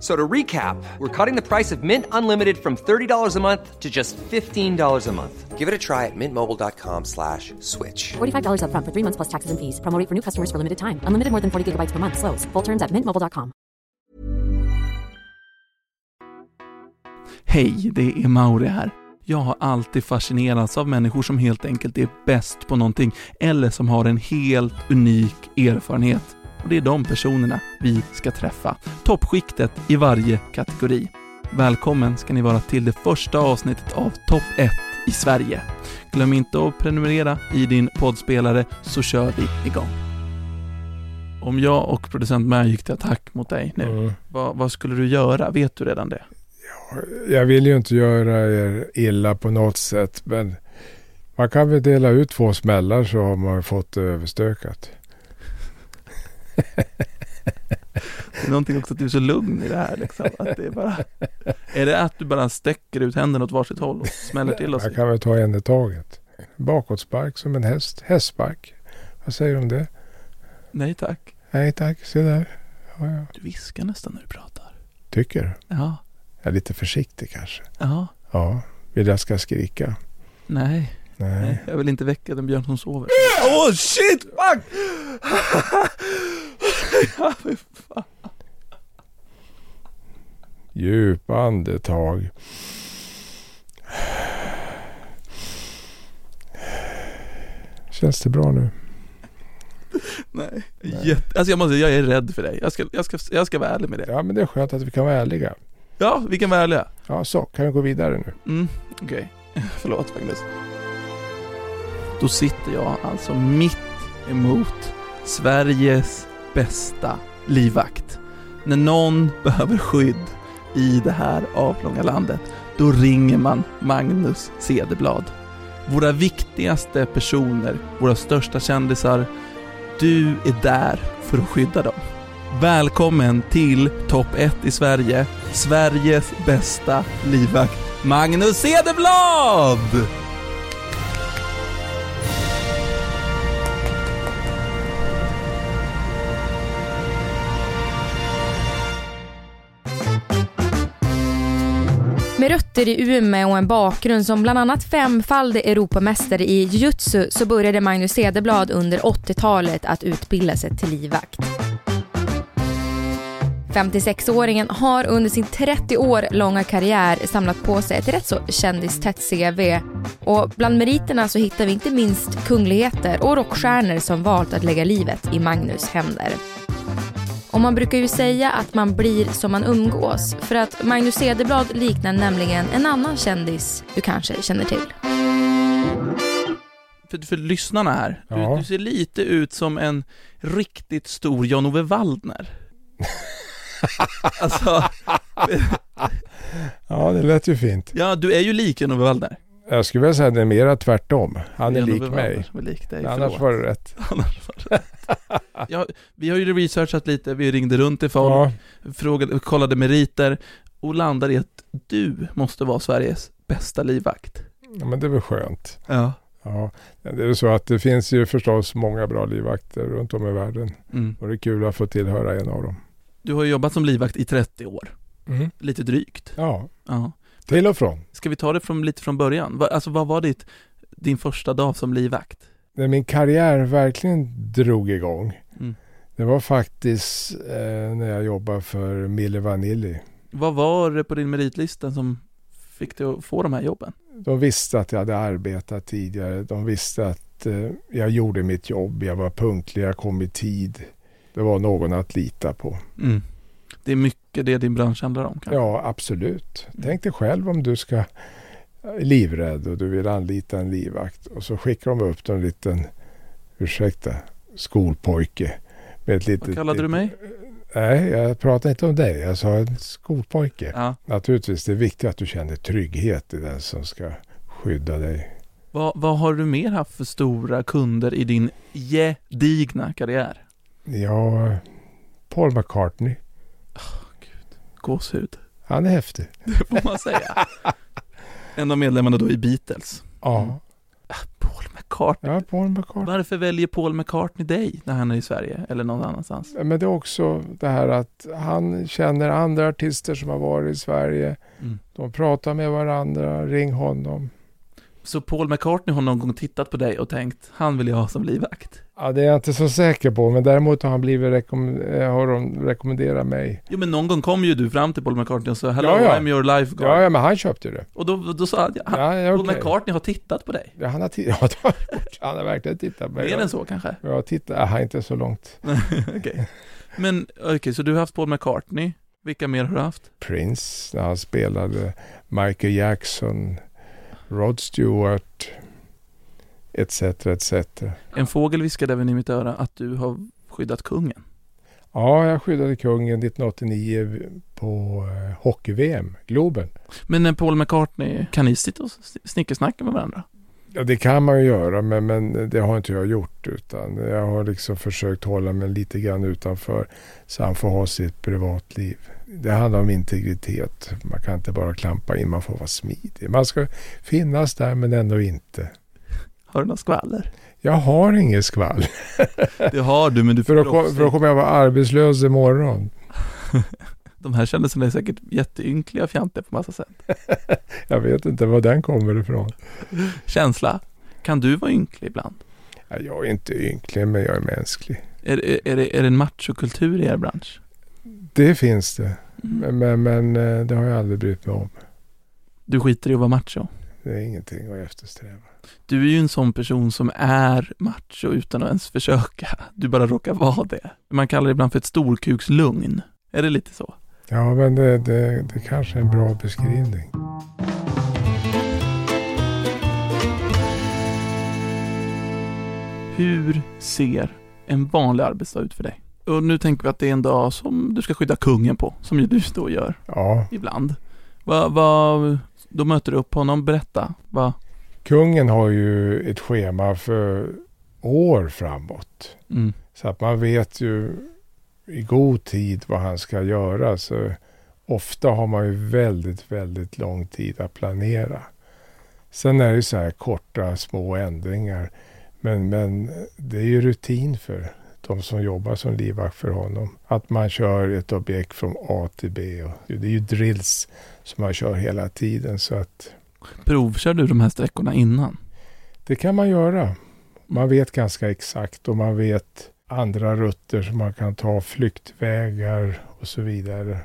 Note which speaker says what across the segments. Speaker 1: So to recap, we're cutting the price of Mint Unlimited from $30 a month to just $15 a month. Give it a try at mintmobile.com slash switch.
Speaker 2: $45 upfront for three months plus taxes and fees. Promo rate for new customers for limited time. Unlimited more than 40 gigabytes per month. Slows. Full terms at mintmobile.com.
Speaker 3: Hej, det är Mauri här. Jag har alltid fascinerats av människor som helt enkelt är bäst på någonting eller som har en helt unik erfarenhet. Och det är de personerna vi ska träffa. Toppskiktet i varje kategori. Välkommen ska ni vara till det första avsnittet av Topp 1 i Sverige. Glöm inte att prenumerera i din poddspelare så kör vi igång. Om jag och producent Mär gick till attack mot dig nu,
Speaker 4: Mm.
Speaker 3: vad, vad skulle du göra? Vet du redan det?
Speaker 4: Jag vill ju inte göra er illa på något sätt men man kan väl dela ut två smällar så har man fått det överstökat.
Speaker 3: Det är någonting också att du är så lugn i det här liksom, att det är bara Är det att du bara sträcker ut händerna åt varsitt håll och smäller till oss?
Speaker 4: Man kan väl ta en i taget. Bakåtspark som en häst. Hästspark. Vad säger du om det?
Speaker 3: Nej tack
Speaker 4: Nej tack, se där. Ja, ja.
Speaker 3: Du viskar nästan när du pratar
Speaker 4: Tycker du?
Speaker 3: Ja,
Speaker 4: Jag är lite försiktig kanske.
Speaker 3: ja,
Speaker 4: Ja, vill jag ska skrika?
Speaker 3: nej,
Speaker 4: Nej.
Speaker 3: nej Jag vill inte väcka den björn som sover
Speaker 1: Oh shit, fuck!
Speaker 3: Ja, fy fan.
Speaker 4: Djupa andetag. Känns det bra nu?
Speaker 3: Nej, Jätte, alltså jag måste jag är rädd för dig Jag ska, jag ska, jag ska vara ärlig med det
Speaker 4: Ja, men det är skönt att vi kan vara ärliga.
Speaker 3: Ja, vi kan vara ärliga
Speaker 4: Ja, så. Kan vi gå vidare nu?
Speaker 3: Mm, okej. Förlåt Magnus. Då sitter jag alltså mitt emot Sveriges bästa livvakt. När någon behöver skydd i det här avlånga landet, då ringer man Magnus Cederblad. Våra viktigaste personer, våra största kändisar, du är där för att skydda dem. Välkommen till topp 1 i Sverige, Sveriges bästa livvakt. Magnus Cederblad!
Speaker 5: Med rötter i Umeå och en bakgrund som bland annat femfaldig Europamästare i jujutsu så började Magnus Cederblad under 80-talet att utbilda sig till livvakt. 56-åringen har under sin 30 år långa karriär samlat på sig ett rätt så kändistätt CV och bland meriterna så hittar vi inte minst kungligheter och rockstjärnor som valt att lägga livet i Magnus händer. Och man brukar ju säga att man blir som man umgås. För att Magnus Cederblad liknar nämligen en annan kändis du kanske känner till.
Speaker 3: För, för lyssnarna här,
Speaker 4: Ja.
Speaker 3: du, du ser lite ut som en riktigt stor Jan-Ove Waldner. alltså,
Speaker 4: Ja, det lät ju fint.
Speaker 3: ja du är ju lik Jan-Ove Waldner.
Speaker 4: Jag skulle vilja säga att det är mera tvärtom. Han är
Speaker 3: Jan-Ove
Speaker 4: lik
Speaker 3: Waldner
Speaker 4: mig.
Speaker 3: Som är lik dig,
Speaker 4: Annars
Speaker 3: förlåt.
Speaker 4: var det rätt.
Speaker 3: Annars var det rätt. ja, Vi har ju researchat lite, vi ringde runt till folk,
Speaker 4: Ja,
Speaker 3: frågade, kollade meriter och landade i att du måste vara Sveriges bästa livvakt.
Speaker 4: men det var skönt.
Speaker 3: Ja.
Speaker 4: Ja, det är ju så att det finns ju förstås många bra livvakter runt om i världen.
Speaker 3: Mm.
Speaker 4: Och det är kul att få tillhöra en av dem.
Speaker 3: Du har ju jobbat som livvakt i 30 år,
Speaker 4: Mm.
Speaker 3: lite drygt.
Speaker 4: Ja,
Speaker 3: Ja.
Speaker 4: till och från.
Speaker 3: Ska vi ta det från, lite från början? Va, alltså vad var ditt, din första dag som livvakt?
Speaker 4: När min karriär verkligen drog igång.
Speaker 3: Mm.
Speaker 4: Det var faktiskt eh, när jag jobbade för Mille Vanilli.
Speaker 3: Vad var det på din meritlista som fick dig att få de här jobben?
Speaker 4: De visste att jag hade arbetat tidigare. De visste att eh, jag gjorde mitt jobb. Jag var punktlig, jag kom i tid. Det var någon att lita på.
Speaker 3: Det är mycket det din bransch handlar om kanske?
Speaker 4: Ja, absolut.
Speaker 3: Mm.
Speaker 4: Tänk dig själv om du ska är livrädd och du vill anlita en livvakt och så skickar de upp en liten, ursäkta, skolpojke. Med ett litet,
Speaker 3: Vad kallade du mig?
Speaker 4: Nej, jag pratar inte om dig. Jag sa en skolpojke.
Speaker 3: Ja.
Speaker 4: Naturligtvis, det är viktigt att du känner trygghet i den som ska skydda dig.
Speaker 3: Vad, vad har du mer haft för stora kunder i din gedigna karriär?
Speaker 4: Ja, Paul McCartney.
Speaker 3: gåshud.
Speaker 4: Han är häftig.
Speaker 3: Det får man säga. en av medlemmarna då i Beatles.
Speaker 4: Ja,
Speaker 3: Paul McCartney.
Speaker 4: Mm. ja Paul McCartney.
Speaker 3: Varför väljer Paul McCartney dig när han är i Sverige eller någon annanstans?
Speaker 4: Men det är också det här att han känner andra artister som har varit i Sverige.
Speaker 3: Mm.
Speaker 4: De pratar med varandra, ring honom.
Speaker 3: Så Paul McCartney har någon gång tittat på dig och tänkt, han vill jag ha som livvakt.
Speaker 4: Ja, det är jag inte så säker på, men däremot har, han blivit rekomm- eh, har de rekommenderat mig.
Speaker 3: Jo men någon gång kom ju du fram till Paul McCartney och sa, hello
Speaker 4: Ja, ja.
Speaker 3: I'm your lifeguard.
Speaker 4: Ja, ja, men han köpte ju det.
Speaker 3: Och då, då sa han, ja, han
Speaker 4: Ja, ja,
Speaker 3: Paul
Speaker 4: okej.
Speaker 3: McCartney har tittat på dig.
Speaker 4: Ja, han, har titt- ja, det har han gjort. han har verkligen tittat på mig.
Speaker 3: Mer än så kanske?
Speaker 4: Ja, titta, ah, inte så långt.
Speaker 3: Okej. Men okej, så du har haft Paul McCartney. Vilka mer har du haft?
Speaker 4: Prince, när han spelade Michael Jackson, Rod Stewart, etc. etc.
Speaker 3: En fågel viskade även i mitt öra att du har skyddat kungen.
Speaker 4: Ja, jag skyddade kungen 1989 på eh, hockey-VM, Globen.
Speaker 3: Men när Paul McCartney, kan ni sitta och s- snickersnacka med varandra?
Speaker 4: Ja, det kan man ju göra, men, men det har inte jag gjort. Utan jag har liksom försökt hålla mig lite grann utanför så han får ha sitt privatliv. Det handlar om integritet. Man kan inte bara klampa in, man får vara smidig. Man ska finnas där men ändå inte.
Speaker 3: Har du något skvaller?
Speaker 4: Jag har inget skvall.
Speaker 3: Det har du, men du
Speaker 4: För då, kom, för då kommer jag vara arbetslös imorgon.
Speaker 3: De här kändelserna är säkert jätteynkliga och fjantiga på massa sätt.
Speaker 4: Jag vet inte var den kommer ifrån.
Speaker 3: Känsla? Kan du vara ynklig ibland?
Speaker 4: Ja, Jag är inte ynklig, men jag är mänsklig.
Speaker 3: Är, är, är, det, är det en machokultur i er bransch?
Speaker 4: Det finns det,
Speaker 3: Mm.
Speaker 4: men, men, men eh, det har jag aldrig brytt mig om.
Speaker 3: Du skiter i att vara macho.
Speaker 4: Det är ingenting att eftersträva.
Speaker 3: Du är ju en sån person som är macho utan att ens försöka. Du bara råkar vara det. Man kallar det ibland för ett storkukslugn. Är det lite så?
Speaker 4: Ja, men det, det, det kanske är en bra beskrivning.
Speaker 3: Hur ser en vanlig arbetsdag ut för dig? Och nu tänker vi att det är en dag som du ska skydda kungen på, som ju du då gör
Speaker 4: Ja,
Speaker 3: ibland. Vad, vad, då möter du upp honom, berätta. Vad,
Speaker 4: kungen har ju ett schema för år framåt.
Speaker 3: mm,
Speaker 4: Så att man vet ju i god tid vad han ska göra. Så ofta har man ju väldigt, väldigt lång tid att planera. Sen är det ju så här korta små ändringar. Men, men det är ju rutin för de som jobbar som livvakt för honom. Att man kör ett objekt från A till B. Och det är ju drills som man kör hela tiden. Så att
Speaker 3: provkör du de här sträckorna innan?
Speaker 4: det kan man göra. Man vet ganska exakt och man vet andra rutter som man kan ta, flyktvägar och så vidare.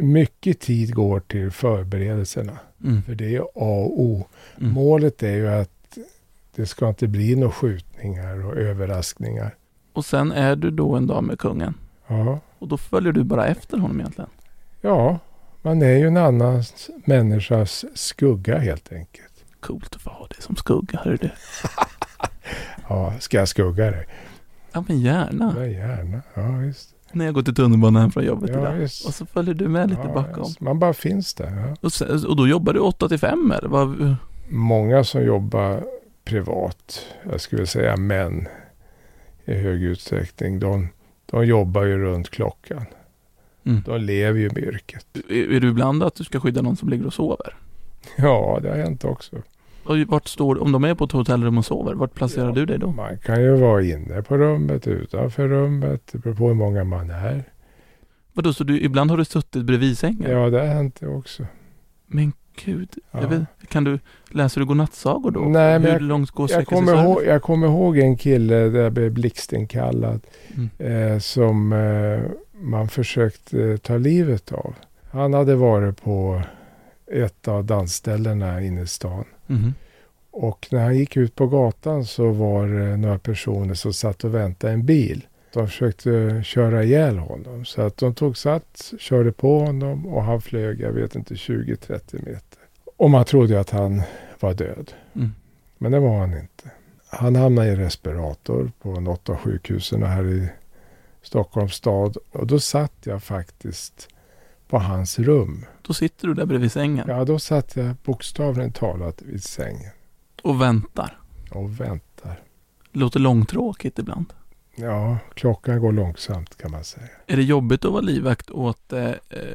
Speaker 4: Mycket tid går till förberedelserna,
Speaker 3: Mm,
Speaker 4: för det är A och O.
Speaker 3: mm.
Speaker 4: Målet är ju att det ska inte bli några skjutningar och överraskningar.
Speaker 3: Och sen är du då en dag med kungen.
Speaker 4: Ja,
Speaker 3: Och då följer du bara efter honom egentligen.
Speaker 4: ja man är ju en annan människas skugga helt enkelt.
Speaker 3: Coolt att få ha det som skugga, hör du.
Speaker 4: Ja, ska jag skugga dig?
Speaker 3: Ja men gärna.
Speaker 4: Ja, gärna. Ja, visst.
Speaker 3: När jag går till tunnelbanan hem från jobbet
Speaker 4: Ja,
Speaker 3: idag.
Speaker 4: visst.
Speaker 3: Och så följer du med lite
Speaker 4: ja,
Speaker 3: bakom.
Speaker 4: visst. Man bara finns där. Ja.
Speaker 3: Och, sen, och då jobbar du 8 till 5 eller? Vad, Mm.
Speaker 4: många som jobbar privat, jag skulle säga män i hög utsträckning, de, de jobbar ju runt klockan.
Speaker 3: mm.
Speaker 4: De lever ju med yrket.
Speaker 3: är, är du ibland att du ska skydda någon som ligger och sover?
Speaker 4: Ja, det har hänt också.
Speaker 3: Och vart står, om de är på ett hotellrum och sover, vart placerar
Speaker 4: Ja.
Speaker 3: du dig då?
Speaker 4: Man kan ju vara inne på rummet, utanför rummet, det beror på hur många man är.
Speaker 3: Vadå, så du, ibland har du suttit bredvid sängen?
Speaker 4: Ja, det har hänt det också.
Speaker 3: Men gud,
Speaker 4: Ja.
Speaker 3: jag vet, kan du, läser du godnattsagor då?
Speaker 4: Nej, men
Speaker 3: Hur
Speaker 4: jag-
Speaker 3: långt går
Speaker 4: Jag
Speaker 3: säkerhetsreserven?
Speaker 4: kommer, ihåg, jag kommer ihåg en kille där jag blev blixtinkallad.
Speaker 3: Mm.
Speaker 4: eh, som eh, man försökte eh, ta livet av. Han hade varit på ett av dansställena inne i stan.
Speaker 3: Mhm.
Speaker 4: Och när han gick ut på gatan så var det några personer som satt och väntade en bil. De försökte eh, köra ihjäl honom. Så att de tog sats, körde på honom och han flög, jag vet inte, 20-30 meter. Och man trodde ju att han var död.
Speaker 3: Mm.
Speaker 4: Men det var han inte. Han hamnade i respirator på något av sjukhusen här i Stockholms stad. Och då satt jag faktiskt på hans rum.
Speaker 3: Då sitter du där bredvid sängen
Speaker 4: Ja, då satt jag bokstavligen talat vid sängen
Speaker 3: och väntar.
Speaker 4: och väntade.
Speaker 3: Låter långtråkigt ibland.
Speaker 4: Ja, klockan går långsamt kan man säga.
Speaker 3: Är det jobbigt att vara livvakt åt eh, eh,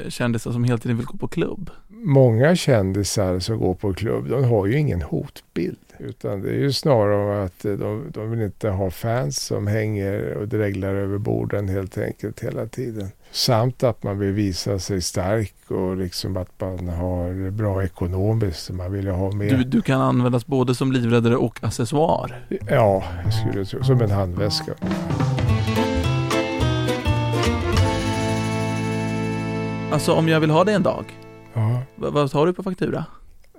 Speaker 3: kändisar som hela tiden vill gå på klubb?
Speaker 4: Många kändisar som går på klubb, de har ju ingen hotbild. Utan det är ju snarare att eh, de, de vill inte ha fans som hänger och dreglar över borden helt enkelt hela tiden. Samt att man vill visa sig stark och liksom att man har det bra ekonomiskt. så Man vill ju ha mer.
Speaker 3: Du, du kan användas både som livräddare och accessoar.
Speaker 4: Ja, jag skulle tro. Som en handväska.
Speaker 3: Alltså om jag vill ha det en dag,
Speaker 4: Ja.
Speaker 3: v- vad tar du på faktura?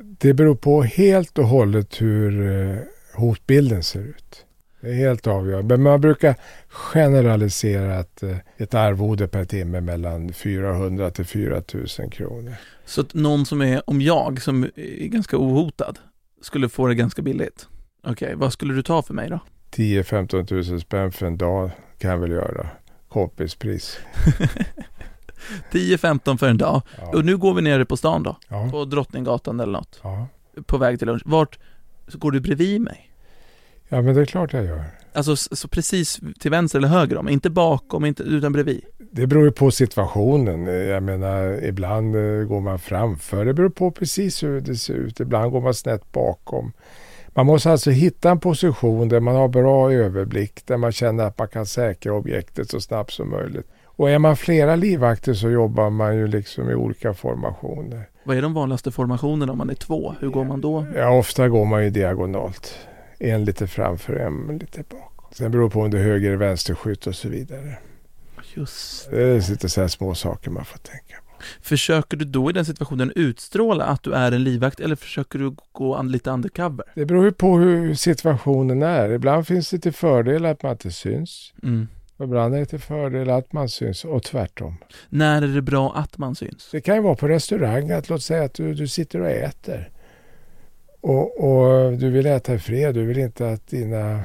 Speaker 4: Det beror på helt och hållet hur eh, hotbilden ser ut. Det är helt avgörande. Men man brukar generalisera att eh, ett arvode per timme mellan 400 till 4 000 kronor.
Speaker 3: Så att någon som är, om jag, som är ganska ohotad, skulle få det ganska billigt. Okej, vad skulle du ta för mig då?
Speaker 4: 10-15 000 spänn för en dag kan jag väl göra. Kompispris.
Speaker 3: 10-15 för en dag.
Speaker 4: Ja.
Speaker 3: Och nu går vi nere på stan då,
Speaker 4: Ja.
Speaker 3: på Drottninggatan eller något,
Speaker 4: Ja.
Speaker 3: på väg till lunch. Vart så går du bredvid mig?
Speaker 4: ja, men det är klart jag gör.
Speaker 3: Alltså s- så precis till vänster eller höger om, inte bakom, inte, utan bredvid.
Speaker 4: Det beror ju på situationen. Eh, Jag menar, ibland eh, går man framför. Det beror på precis hur det ser ut. Ibland går man snett bakom. Man måste alltså hitta en position där man har bra överblick, där man känner att man kan säkra objektet så snabbt som möjligt. Och är man flera livvakter så jobbar man ju liksom i olika formationer.
Speaker 3: Vad är de vanligaste formationerna om man är två? Hur går man då?
Speaker 4: Ja, ofta går man ju diagonalt. En lite framför, en lite bakom. Sen beror det på om det är höger eller vänsterskytt och så vidare.
Speaker 3: Just.
Speaker 4: Det är lite så här små saker man får tänka på.
Speaker 3: Försöker du då i den situationen utstråla att du är en livvakt eller försöker du gå an, lite undercover?
Speaker 4: Det beror ju på hur situationen är. Ibland finns det till fördel att man inte syns.
Speaker 3: Mm.
Speaker 4: Och ibland är det till fördel att man syns och tvärtom.
Speaker 3: När är det bra att man syns?
Speaker 4: Det kan ju vara på restaurang att låt säga att du, du sitter och äter. Och, och du vill äta i fred. Du vill inte att dina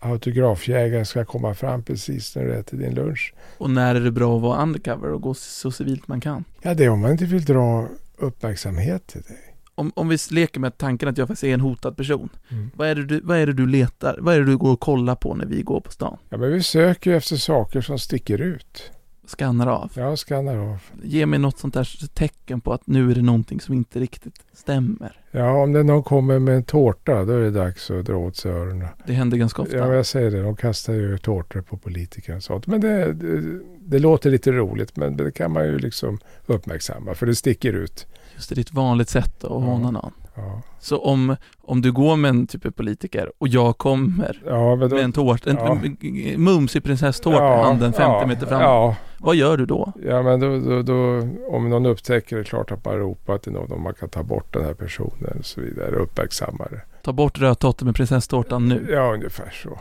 Speaker 4: autografjägare ska komma fram precis när du äter din lunch.
Speaker 3: Och när är det bra att vara undercover och gå så civilt man kan?
Speaker 4: Ja, det är om man inte vill dra uppmärksamhet till dig.
Speaker 3: Om, om vi leker med tanken att jag faktiskt är en hotad person.
Speaker 4: Mm.
Speaker 3: Vad är, det du, vad är det du letar? Vad är det du går och kollar på när vi går på stan?
Speaker 4: Ja, men vi söker ju efter saker som sticker ut.
Speaker 3: Skannar av.
Speaker 4: Jag skannar av.
Speaker 3: Ge mig något sånt där tecken på att nu är det någonting som inte riktigt stämmer.
Speaker 4: Ja, om det någon kommer med en tårta, då är det dags att dra åt sig öronen.
Speaker 3: Det händer ganska ofta.
Speaker 4: Ja, jag säger det. De kastar ju tårtor på politiker och sånt. Men det, det, det låter lite roligt, men det kan man ju liksom uppmärksamma, för det sticker ut.
Speaker 3: Just det, det är ett vanligt sätt att håna någon.
Speaker 4: Ja,
Speaker 3: Så om, om du går med en typ av politiker och jag kommer
Speaker 4: ja men då...
Speaker 3: med en tårta, en,
Speaker 4: Ja.
Speaker 3: en mumsig prinsesstårta, handen 50
Speaker 4: ja,
Speaker 3: meter fram.
Speaker 4: Ja,
Speaker 3: Vad gör du då?
Speaker 4: ja men då, då, då, om någon upptäcker det är klart att man ropar till någon om man kan ta bort den här personen och så vidare, uppmärksamma det.
Speaker 3: Ta bort rödtotten med prinsesstårtan nu.
Speaker 4: Ja, ungefär så.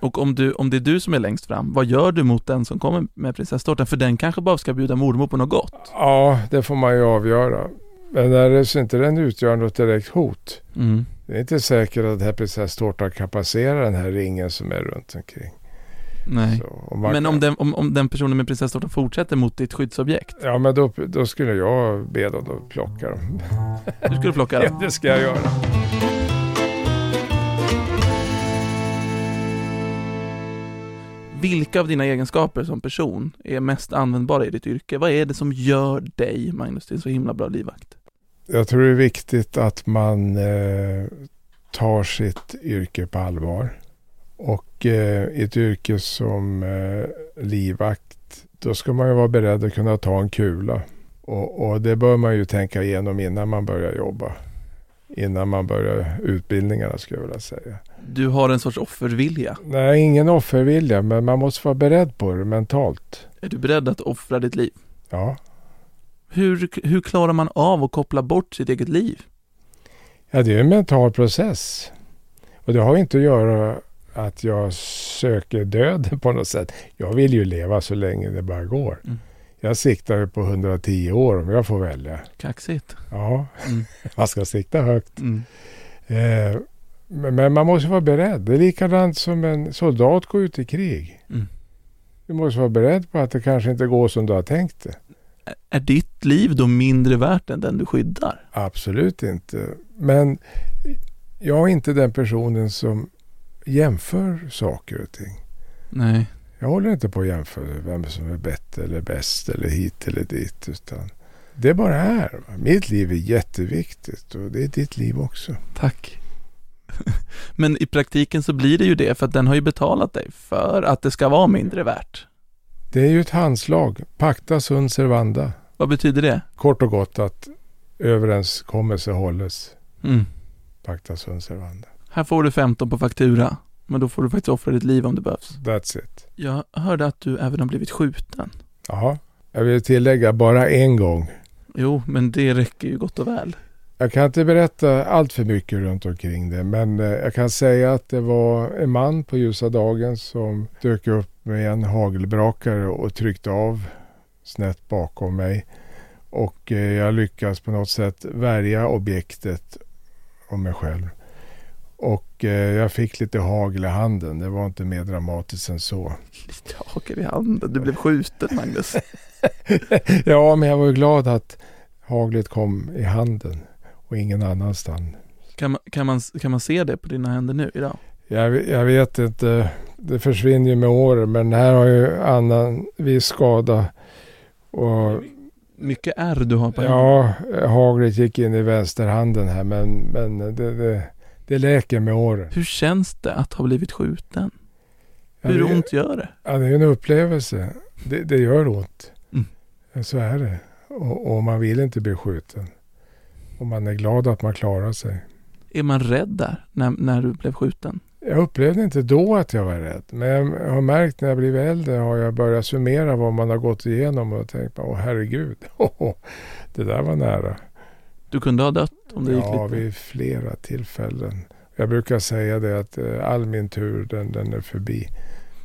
Speaker 3: Och om, du, om det är du som är längst fram, vad gör du mot den som kommer med prinsesstårtan? För den kanske bara ska bjuda mormor på något gott.
Speaker 4: Ja, det får man ju avgöra. Men när det så inte den utgör något direkt hot,
Speaker 3: Mm.
Speaker 4: Det är inte säkert att den här prinsesstårtan kan passera den här ringen som är runt omkring.
Speaker 3: Nej.
Speaker 4: Så, om man
Speaker 3: Men om
Speaker 4: kan-
Speaker 3: den, om, om den personen med prinsesstårtan fortsätter mot ditt skyddsobjekt,
Speaker 4: Ja, men då, då skulle jag be dem att plocka dem.
Speaker 3: du skulle plocka den.
Speaker 4: Ja, det ska jag göra.
Speaker 3: Vilka av dina egenskaper som person är mest användbara i ditt yrke? Vad är det som gör dig, Magnus, till en så himla bra livvakt?
Speaker 4: Jag tror det är viktigt att man eh, tar sitt yrke på allvar. Och eh, i ett yrke som eh, livvakt, då ska man ju vara beredd att kunna ta en kula. Och, och det bör man ju tänka igenom innan man börjar jobba. Innan man börjar utbildningarna skulle jag vilja säga.
Speaker 3: Du har en sorts offervilja.
Speaker 4: Nej, ingen offervilja, men man måste vara beredd på det mentalt.
Speaker 3: Är du beredd att offra ditt liv?
Speaker 4: Ja.
Speaker 3: Hur, hur klarar man av att koppla bort sitt eget liv?
Speaker 4: ja, det är en mental process. Och det har ju inte att göra att jag söker döden på något sätt. Jag vill ju leva så länge det bara går.
Speaker 3: Mm.
Speaker 4: Jag siktar ju på 110 år om jag får välja.
Speaker 3: Kaxigt.
Speaker 4: Ja,
Speaker 3: Mm.
Speaker 4: man ska sikta högt.
Speaker 3: Mm.
Speaker 4: Eh, men men man måste vara beredd. Det är likadant som en soldat går ut i krig.
Speaker 3: Mm.
Speaker 4: Du måste vara beredd på att det kanske inte går som du har tänkt det.
Speaker 3: Ä- Är ditt liv då mindre värt än den du skyddar?
Speaker 4: Absolut inte. Men jag är inte den personen som jämför saker och ting.
Speaker 3: Nej.
Speaker 4: Jag håller inte på att jämföra vem som är bättre eller bäst eller hit eller dit. Utan det är bara här. va. Mitt liv är jätteviktigt och det är ditt liv också.
Speaker 3: Tack. Men i praktiken så blir det ju det, för att den har ju betalat dig för att det ska vara mindre värt.
Speaker 4: Det är ju ett handslag. Pacta sunt servanda.
Speaker 3: Vad betyder det?
Speaker 4: Kort och gott att överenskommelse hålles.
Speaker 3: Mm.
Speaker 4: Pacta sunt servanda.
Speaker 3: Här får du 15 på faktura, men då får du faktiskt offra ditt liv om det behövs.
Speaker 4: That's it.
Speaker 3: Jag hörde att du även har blivit skjuten.
Speaker 4: Jaha. Jag vill tillägga bara en gång.
Speaker 3: Jo, men det räcker ju gott och väl.
Speaker 4: Jag kan inte berätta allt för mycket runt omkring det men eh, jag kan säga att det var en man på ljusa dagen som dök upp med en hagelbrakare och tryckte av snett bakom mig. Och eh, jag lyckas på något sätt värja objektet och mig själv. Och eh, jag fick lite hagel i handen. Det var inte mer dramatiskt än så.
Speaker 3: Lite haker i handen, du blev skjuten Magnus.
Speaker 4: ja, men jag var ju glad att haglet kom i handen och ingen annanstans.
Speaker 3: Kan, man- kan, man, kan man se det på dina händer nu idag?
Speaker 4: Jag, jag vet inte. Det försvinner ju med åren. Men här har ju annan viss skada. Och
Speaker 3: Mycket ärr du har på händerna.
Speaker 4: ja, haglet gick in i vänsterhanden här. Men, men det, det, det läker med åren.
Speaker 3: Hur känns det att ha blivit skjuten?
Speaker 4: Ja,
Speaker 3: Hur
Speaker 4: det-
Speaker 3: ont gör det?
Speaker 4: Ja, det är ju en upplevelse. Det, det gör ont.
Speaker 3: Mm.
Speaker 4: Ja, Så är det. Och, och man vill inte bli skjuten. Och man är glad att man klarar sig.
Speaker 3: Är man rädd där, när, när du blev skjuten?
Speaker 4: Jag upplevde inte då att jag var rädd. Men jag har märkt när jag blivit äldre har jag börjat summera vad man har gått igenom och tänkt åh herregud, det där var nära.
Speaker 3: Du kunde ha dött om det
Speaker 4: Ja,
Speaker 3: gick lite...
Speaker 4: vid flera tillfällen. Jag brukar säga det att eh, all min tur den, den är förbi.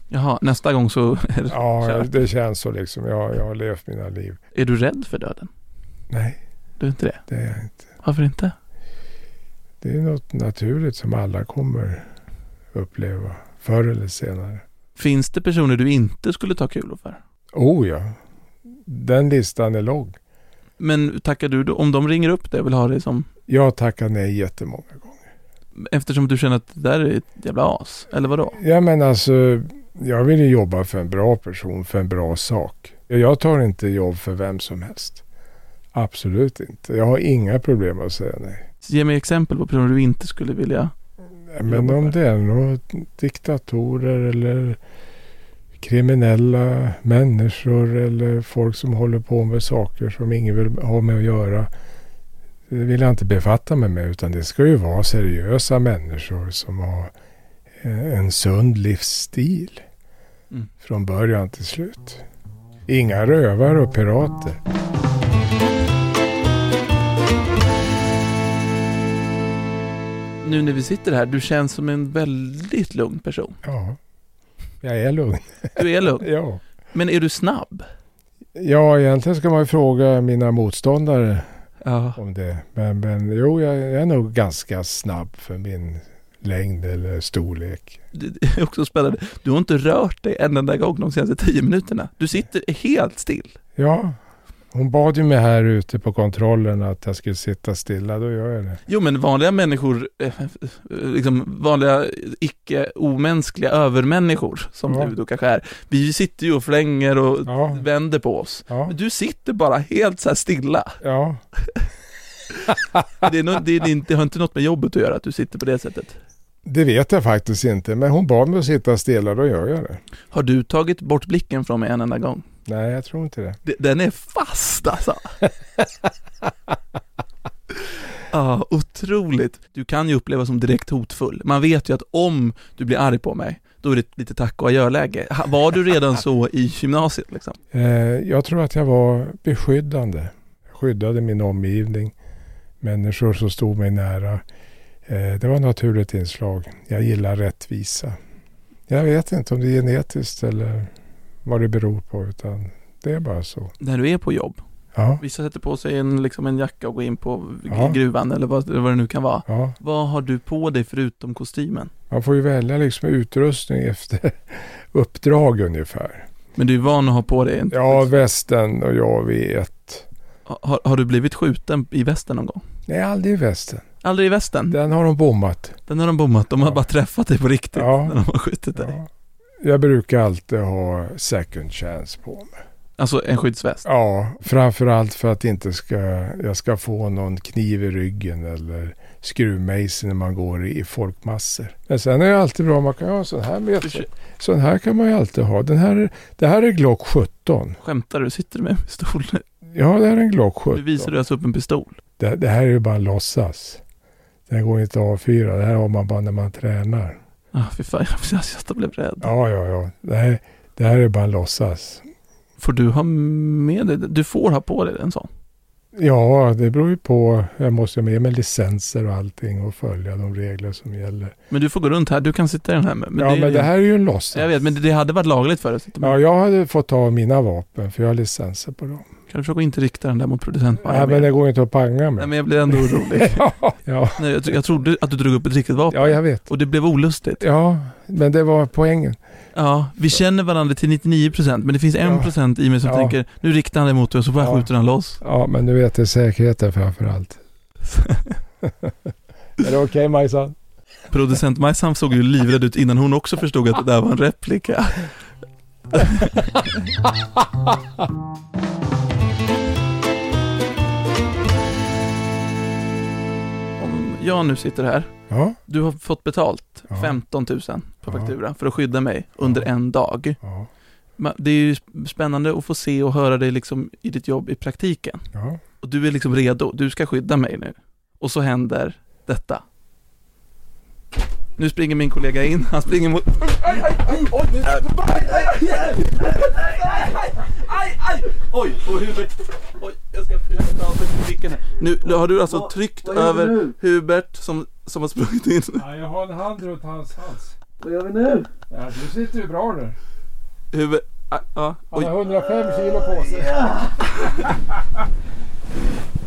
Speaker 3: Jaha, nästa gång så är, det-
Speaker 4: Ja,
Speaker 3: Kört.
Speaker 4: det känns så liksom. Jag, jag har levt mina liv.
Speaker 3: är du rädd för döden.
Speaker 4: Nej,
Speaker 3: Du är inte det?
Speaker 4: det är jag inte.
Speaker 3: Varför inte?
Speaker 4: Det är något naturligt som alla kommer uppleva förr eller senare.
Speaker 3: Finns det personer du inte skulle ta kulor för?
Speaker 4: Oh ja, den listan är lång.
Speaker 3: Men tackar du då, om de ringer upp dig och vill ha dig som,
Speaker 4: Jag tackar nej jättemånga gånger.
Speaker 3: eftersom du känner att det där är ett jävla as, eller vadå?
Speaker 4: Ja men alltså, jag vill ju jobba för en bra person, för en bra sak. Jag tar inte jobb för vem som helst. Absolut inte. Jag har inga problem att säga nej.
Speaker 3: Ge mig exempel på personer du inte skulle vilja.
Speaker 4: Men
Speaker 3: Jobba
Speaker 4: om
Speaker 3: för.
Speaker 4: det är några diktatorer eller kriminella människor eller folk som håller på med saker som ingen vill ha med att göra. Det vill jag inte befatta mig med utan det ska ju vara seriösa människor som har eh, en sund livsstil.
Speaker 3: Mm.
Speaker 4: Från början till slut. Inga rövare och pirater.
Speaker 3: Nu när vi sitter här, du känns som en väldigt lugn person.
Speaker 4: Ja, jag är lugn.
Speaker 3: Du är lugn.
Speaker 4: Ja.
Speaker 3: Men är du snabb?
Speaker 4: ja, egentligen ska man ju fråga mina motståndare
Speaker 3: Ja.
Speaker 4: om det. Men, men jo, jag är nog ganska snabb för min längd eller storlek.
Speaker 3: Det det är också spännande. Du har inte rört dig en enda gång de senaste tio minuterna. Du sitter helt still.
Speaker 4: Ja, hon bad ju mig här ute på kontrollen att jag skulle sitta stilla. Då gör jag det.
Speaker 3: Jo men vanliga människor, eh, eh, liksom vanliga icke-omänskliga övermänniskor som
Speaker 4: Ja.
Speaker 3: du då kanske är, vi sitter ju och flänger och
Speaker 4: Ja.
Speaker 3: vänder på oss.
Speaker 4: Ja,
Speaker 3: Men du sitter bara helt så här stilla.
Speaker 4: ja.
Speaker 3: Det, är nå- det, är inte- det har inte något med jobbet att göra att du sitter på det sättet.
Speaker 4: det vet jag faktiskt inte. Men hon bad mig att sitta stilla. Då gör jag det.
Speaker 3: Har du tagit bort blicken från mig en enda gång?
Speaker 4: Nej, jag tror inte det.
Speaker 3: D- Den är fast alltså. Ja, otroligt. Du kan ju upplevas som direkt hotfull. Man vet ju att om du blir arg på mig, då är det lite tack och adjö-läge. Ha- Var du redan så i gymnasiet liksom?
Speaker 4: Eh, jag tror att jag var beskyddande. Jag skyddade min omgivning, människor som stod mig nära. Eh, det var ett naturligt inslag. Jag gillar rättvisa. Jag vet inte om det är genetiskt eller vad det beror på, utan det är bara så.
Speaker 3: När du är på jobb.
Speaker 4: Ja,
Speaker 3: Vissa sätter på sig en, liksom en jacka och går in på g-
Speaker 4: Ja.
Speaker 3: gruvan eller vad, vad det nu kan vara.
Speaker 4: ja.
Speaker 3: Vad har du på dig förutom kostymen?
Speaker 4: Man får ju välja liksom utrustning efter uppdrag ungefär.
Speaker 3: Men du är van att ha på dig en...
Speaker 4: Ja, västen och jag vet.
Speaker 3: Har, har du blivit skjuten i västen någon gång?
Speaker 4: Nej, aldrig västen.
Speaker 3: Aldrig i västen?
Speaker 4: Den har de bommat.
Speaker 3: Den har de bommat. De har
Speaker 4: Ja.
Speaker 3: bara träffat dig på riktigt
Speaker 4: Ja.
Speaker 3: när de har skjutit dig.
Speaker 4: Ja. jag brukar alltid ha second chance på mig.
Speaker 3: Alltså en skyddsväst?
Speaker 4: Ja, framförallt för att inte ska, jag ska få någon kniv i ryggen eller skruvmejsel när man går i folkmassor. Men sen är det alltid bra om man kan ha en sån här med sig. Sån här kan man ju alltid ha. Den här, det här är Glock 17.
Speaker 3: Skämtar du? Sitter du med en pistol nu?
Speaker 4: Ja, det här är en Glock
Speaker 3: Nu
Speaker 4: 17.
Speaker 3: visar du alltså upp en pistol.
Speaker 4: Det, det här är ju bara en låtsas. Den går inte att avfyra. Det här har man bara när man tränar.
Speaker 3: Ah, fy fan, jag, jag, jag blev rädd.
Speaker 4: Ja, ja, ja. Det här, det här är bara en låtsas.
Speaker 3: Får du ha med dig, du får ha på dig en sån?
Speaker 4: Ja, det beror ju på. Jag måste ha med mig licenser och allting och följa de regler som gäller.
Speaker 3: Men du får gå runt här, du kan sitta i den här. Men
Speaker 4: ja,
Speaker 3: är
Speaker 4: men
Speaker 3: ju-
Speaker 4: det här är ju en låtsas.
Speaker 3: Jag vet, men det- det hade varit lagligt för dig. att sitta med.
Speaker 4: Ja, jag hade fått ta mina vapen för jag har licenser på dem.
Speaker 3: Kan du försöka inte rikta den där mot producent
Speaker 4: Nej, men det går ju inte att panga
Speaker 3: Nej,
Speaker 4: med.
Speaker 3: men jag blev ändå orolig.
Speaker 4: ja,
Speaker 3: Nej, jag, tro- jag trodde att du drog upp ett riktigt vapen.
Speaker 4: ja, jag vet.
Speaker 3: Och det blev olustigt.
Speaker 4: Ja, men det var poängen.
Speaker 3: Ja, vi känner varandra till 99% men det finns 1% i mig som
Speaker 4: Ja.
Speaker 3: tänker nu riktar han det mot dig och så bara
Speaker 4: Ja.
Speaker 3: skjuter han loss.
Speaker 4: Ja, men nu vet jag säkerheten framför allt. är det okej Majsan?
Speaker 3: Producent Majsan såg ju livrädd ut innan hon också förstod att det där var en replika. Om jag nu sitter här,
Speaker 4: Ja,
Speaker 3: du har fått betalt
Speaker 4: Ja.
Speaker 3: 15 000 på
Speaker 4: Ja.
Speaker 3: faktura för att skydda mig under en dag.
Speaker 4: ja,
Speaker 3: Men Det är ju spännande att få se och höra dig liksom i ditt jobb i praktiken.
Speaker 4: ja.
Speaker 3: Och du är liksom redo, du ska skydda mig nu. Och så händer detta. Nu springer min kollega in, han springer mot... Oj, och Hubert... Oj, jag ska försöka ta av mig blicken här. Nu nu har du alltså tryckt över Hubert som, som har sprungit in.
Speaker 4: jag har en hand runt hans hals.
Speaker 6: Vad gör vi nu?
Speaker 4: Ja, du sitter ju bra nu.
Speaker 3: Hubert... ah, Ja,
Speaker 4: Han
Speaker 3: oj.
Speaker 4: har 105 kilo på sig.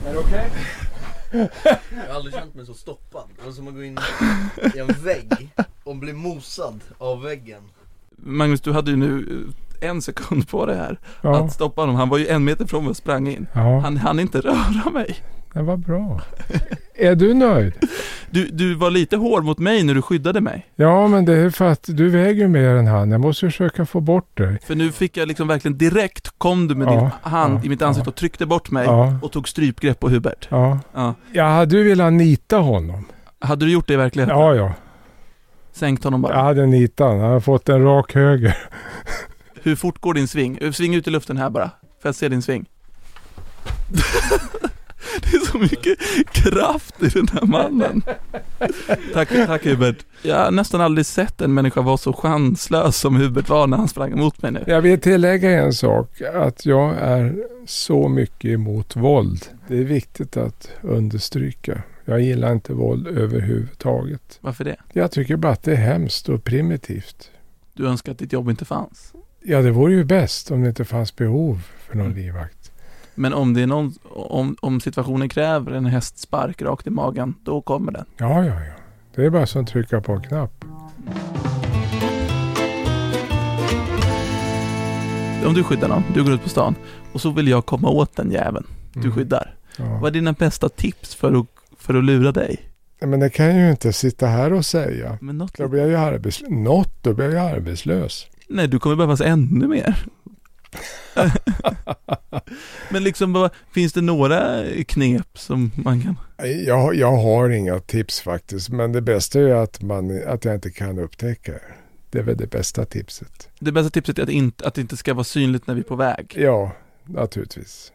Speaker 4: är det okej?
Speaker 6: Jag har aldrig känt mig så stoppad. Det var som att gå in i en vägg och bli mosad av väggen.
Speaker 3: Magnus, du hade ju nu eh, en sekund på det här.
Speaker 4: Ja,
Speaker 3: Att stoppa honom. Han var ju en meter från mig och sprang in.
Speaker 4: ja.
Speaker 3: Han hann inte röra mig.
Speaker 4: det var bra. är du nöjd?
Speaker 3: Du, du var lite hård mot mig när du skyddade mig.
Speaker 4: Ja, men det är för att du väger ju mer än han. Jag måste försöka få bort dig.
Speaker 3: För nu fick jag liksom verkligen direkt kom du med
Speaker 4: Ja,
Speaker 3: din hand
Speaker 4: ja,
Speaker 3: i mitt ansikte och tryckte bort mig
Speaker 4: Ja.
Speaker 3: och tog strypgrepp på Hubert.
Speaker 4: Ja.
Speaker 3: Ja.
Speaker 4: Jag hade ju velat nita honom.
Speaker 3: Hade du gjort det i verkligheten?
Speaker 4: Ja, ja.
Speaker 3: Sänkt honom bara.
Speaker 4: Jag hade nitat honom. Jag hade fått en rak höger.
Speaker 3: Hur fort går din sving? Eh, Sving ut i luften här bara. Får jag se din sving? det är så mycket kraft i den här mannen. tack, tack Hubert. Jag har nästan aldrig sett en människa vara så chanslös som Hubert var när han sprang emot mig nu.
Speaker 4: Jag vill tillägga en sak. Att jag är så mycket emot våld. Det är viktigt att understryka. Jag gillar inte våld överhuvudtaget.
Speaker 3: Varför det?
Speaker 4: Jag tycker bara att det är hemskt och primitivt.
Speaker 3: Du önskar att ditt jobb inte fanns.
Speaker 4: Ja, det vore ju bäst om det inte fanns behov för någon
Speaker 3: Mm.
Speaker 4: livvakt.
Speaker 3: Men om det är någon, om, om situationen kräver en hästspark rakt i magen, då kommer den.
Speaker 4: Ja, ja, ja. Det är bara som att trycka på en knapp.
Speaker 3: Om du skyddar någon, du går ut på stan och så vill jag komma åt den jäveln du
Speaker 4: Mm.
Speaker 3: skyddar.
Speaker 4: Ja.
Speaker 3: Vad är dina bästa tips för att, för att lura dig?
Speaker 4: Nej, Men det kan jag ju inte sitta här och säga.
Speaker 3: Men något
Speaker 4: Då blir jag ju arbetslös. Något, då blir jag ju arbetslös.
Speaker 3: Nej, du kommer behövas ännu mer. Men liksom, vad- finns det några knep som man kan...
Speaker 4: Jag, jag har inga tips faktiskt. Men det bästa är att, man, att jag inte kan upptäcka det. Det är väl det bästa tipset.
Speaker 3: Det bästa tipset är att, inte, att det inte ska vara synligt när vi är på väg.
Speaker 4: Ja, naturligtvis.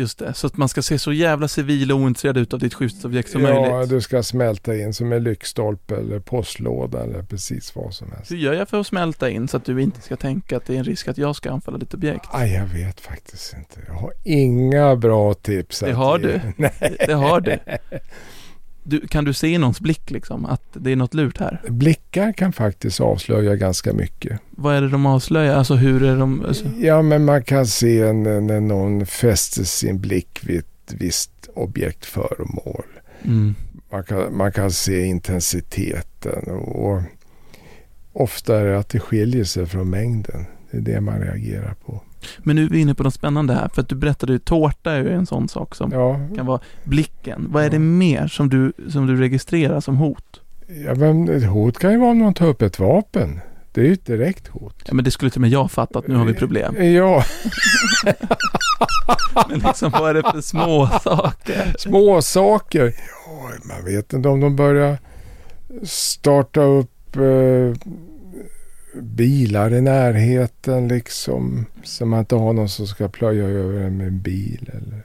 Speaker 3: Just det, så att man ska se så jävla civil och ointresserad ut av ditt skyddsobjekt som
Speaker 4: ja,
Speaker 3: möjligt.
Speaker 4: du ska smälta in som en lyktstolpe eller postlåda eller precis vad som helst.
Speaker 3: Hur gör jag för att smälta in så att du inte ska tänka att det är en risk att jag ska anfalla ditt objekt?
Speaker 4: Aj, jag vet faktiskt inte. Jag har inga bra tips.
Speaker 3: Det
Speaker 4: att
Speaker 3: har
Speaker 4: ge.
Speaker 3: du.
Speaker 4: Nej.
Speaker 3: Det har du. du. Kan du se i någons blick liksom att det är något lurt här?
Speaker 4: Blickar kan faktiskt avslöja ganska mycket.
Speaker 3: Vad är det de avslöjar? Alltså hur är de... Alltså,
Speaker 4: Ja, men man kan se när, när någon fäster sin blick vid ett visst objektföremål.
Speaker 3: mm.
Speaker 4: Man kan, man kan se intensiteten och ofta är det att det skiljer sig från mängden. Det är det man reagerar på.
Speaker 3: Men nu är vi inne på något spännande här, för att du berättade ju tårta är ju en sån sak som
Speaker 4: Ja,
Speaker 3: kan vara blicken. Vad är det mer som du, som du registrerar som hot?
Speaker 4: ja men ett hot kan ju vara om någon tar upp ett vapen. Det Det är ju ett direkt hot.
Speaker 3: Ja, men det skulle till och med jag fatta att nu har vi problem.
Speaker 4: Ja,
Speaker 3: Men liksom vad är det för små saker?
Speaker 4: små saker. Ja, man vet inte om de börjar starta upp eh, bilar i närheten liksom. Så man inte har någon som ska plöja över en med en bil eller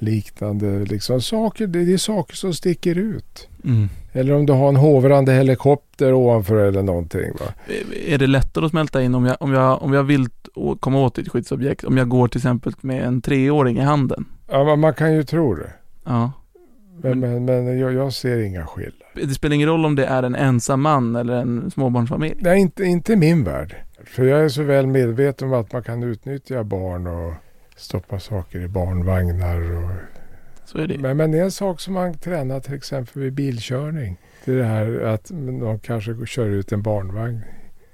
Speaker 4: liknande. Liksom. Saker, det det är saker som sticker ut.
Speaker 3: Mm.
Speaker 4: Eller om du har en hovrande helikopter ovanför eller någonting. Va?
Speaker 3: Är det lättare att smälta in om jag, om jag, om jag vill å- komma åt ett skyddsobjekt? Om jag går till exempel med en treåring i handen?
Speaker 4: Ja, men man kan ju tro det.
Speaker 3: Ja.
Speaker 4: Men, men, men jag, jag ser inga skillnader.
Speaker 3: Det spelar ingen roll om det är en ensam man eller en småbarnsfamilj.
Speaker 4: Nej, inte, inte i min värld. För jag är så väl medveten om att man kan utnyttja barn och stoppa saker i barnvagnar. Och...
Speaker 3: Så är det.
Speaker 4: Men, men det är en sak som man tränar till exempel vid bilkörning. Det är det här att de kanske kör ut en barnvagn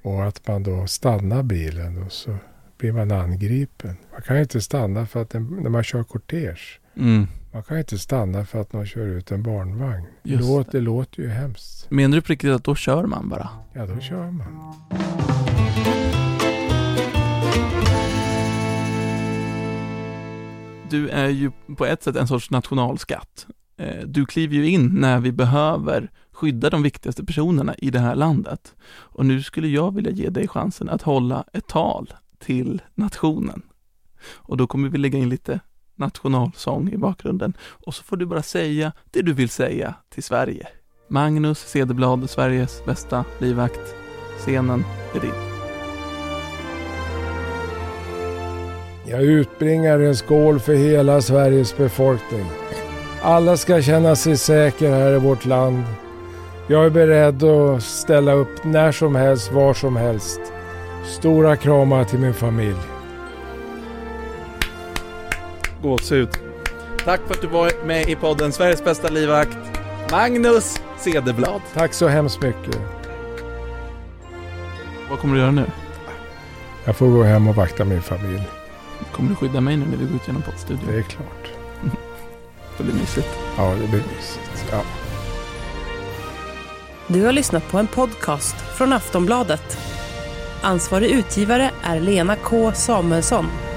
Speaker 4: och att man då stannar bilen och så blir man angripen. Man kan ju inte stanna för att en, när man kör kortege.
Speaker 3: Mm.
Speaker 4: Man kan ju inte stanna för att någon kör ut en barnvagn.
Speaker 3: Just
Speaker 4: Låt, det låter ju hemskt.
Speaker 3: Menar du på riktigt att då kör man bara?
Speaker 4: Ja, då kör man.
Speaker 3: Du är ju på ett sätt en sorts nationalskatt. Eh, Du kliver ju in när vi behöver skydda de viktigaste personerna i det här landet. Och nu skulle jag vilja ge dig chansen att hålla ett tal till nationen. Och då kommer vi lägga in lite nationalsång i bakgrunden. Och så får du bara säga det du vill säga till Sverige. Magnus Cederblad, Sveriges bästa livvakt. Scenen är din.
Speaker 4: Jag utbringar en skål för hela Sveriges befolkning. Alla ska känna sig säkra här i vårt land. Jag är beredd att ställa upp när som helst, var som helst. Stora kramar till min familj.
Speaker 3: gåshud. Tack för att du var med i podden Sveriges bästa livvakt, Magnus Cederblad.
Speaker 4: Tack så hemskt mycket.
Speaker 3: Vad kommer du göra nu?
Speaker 4: Jag får gå hem och vakta min familj.
Speaker 3: Kommer du skydda mig nu när vi går ut genom poddstudion?
Speaker 4: Det är klart.
Speaker 3: Det blir mysigt.
Speaker 4: Ja, det blir mysigt. Ja.
Speaker 7: Du har lyssnat på en podcast från Aftonbladet. Ansvarig utgivare är Lena K Samuelsson.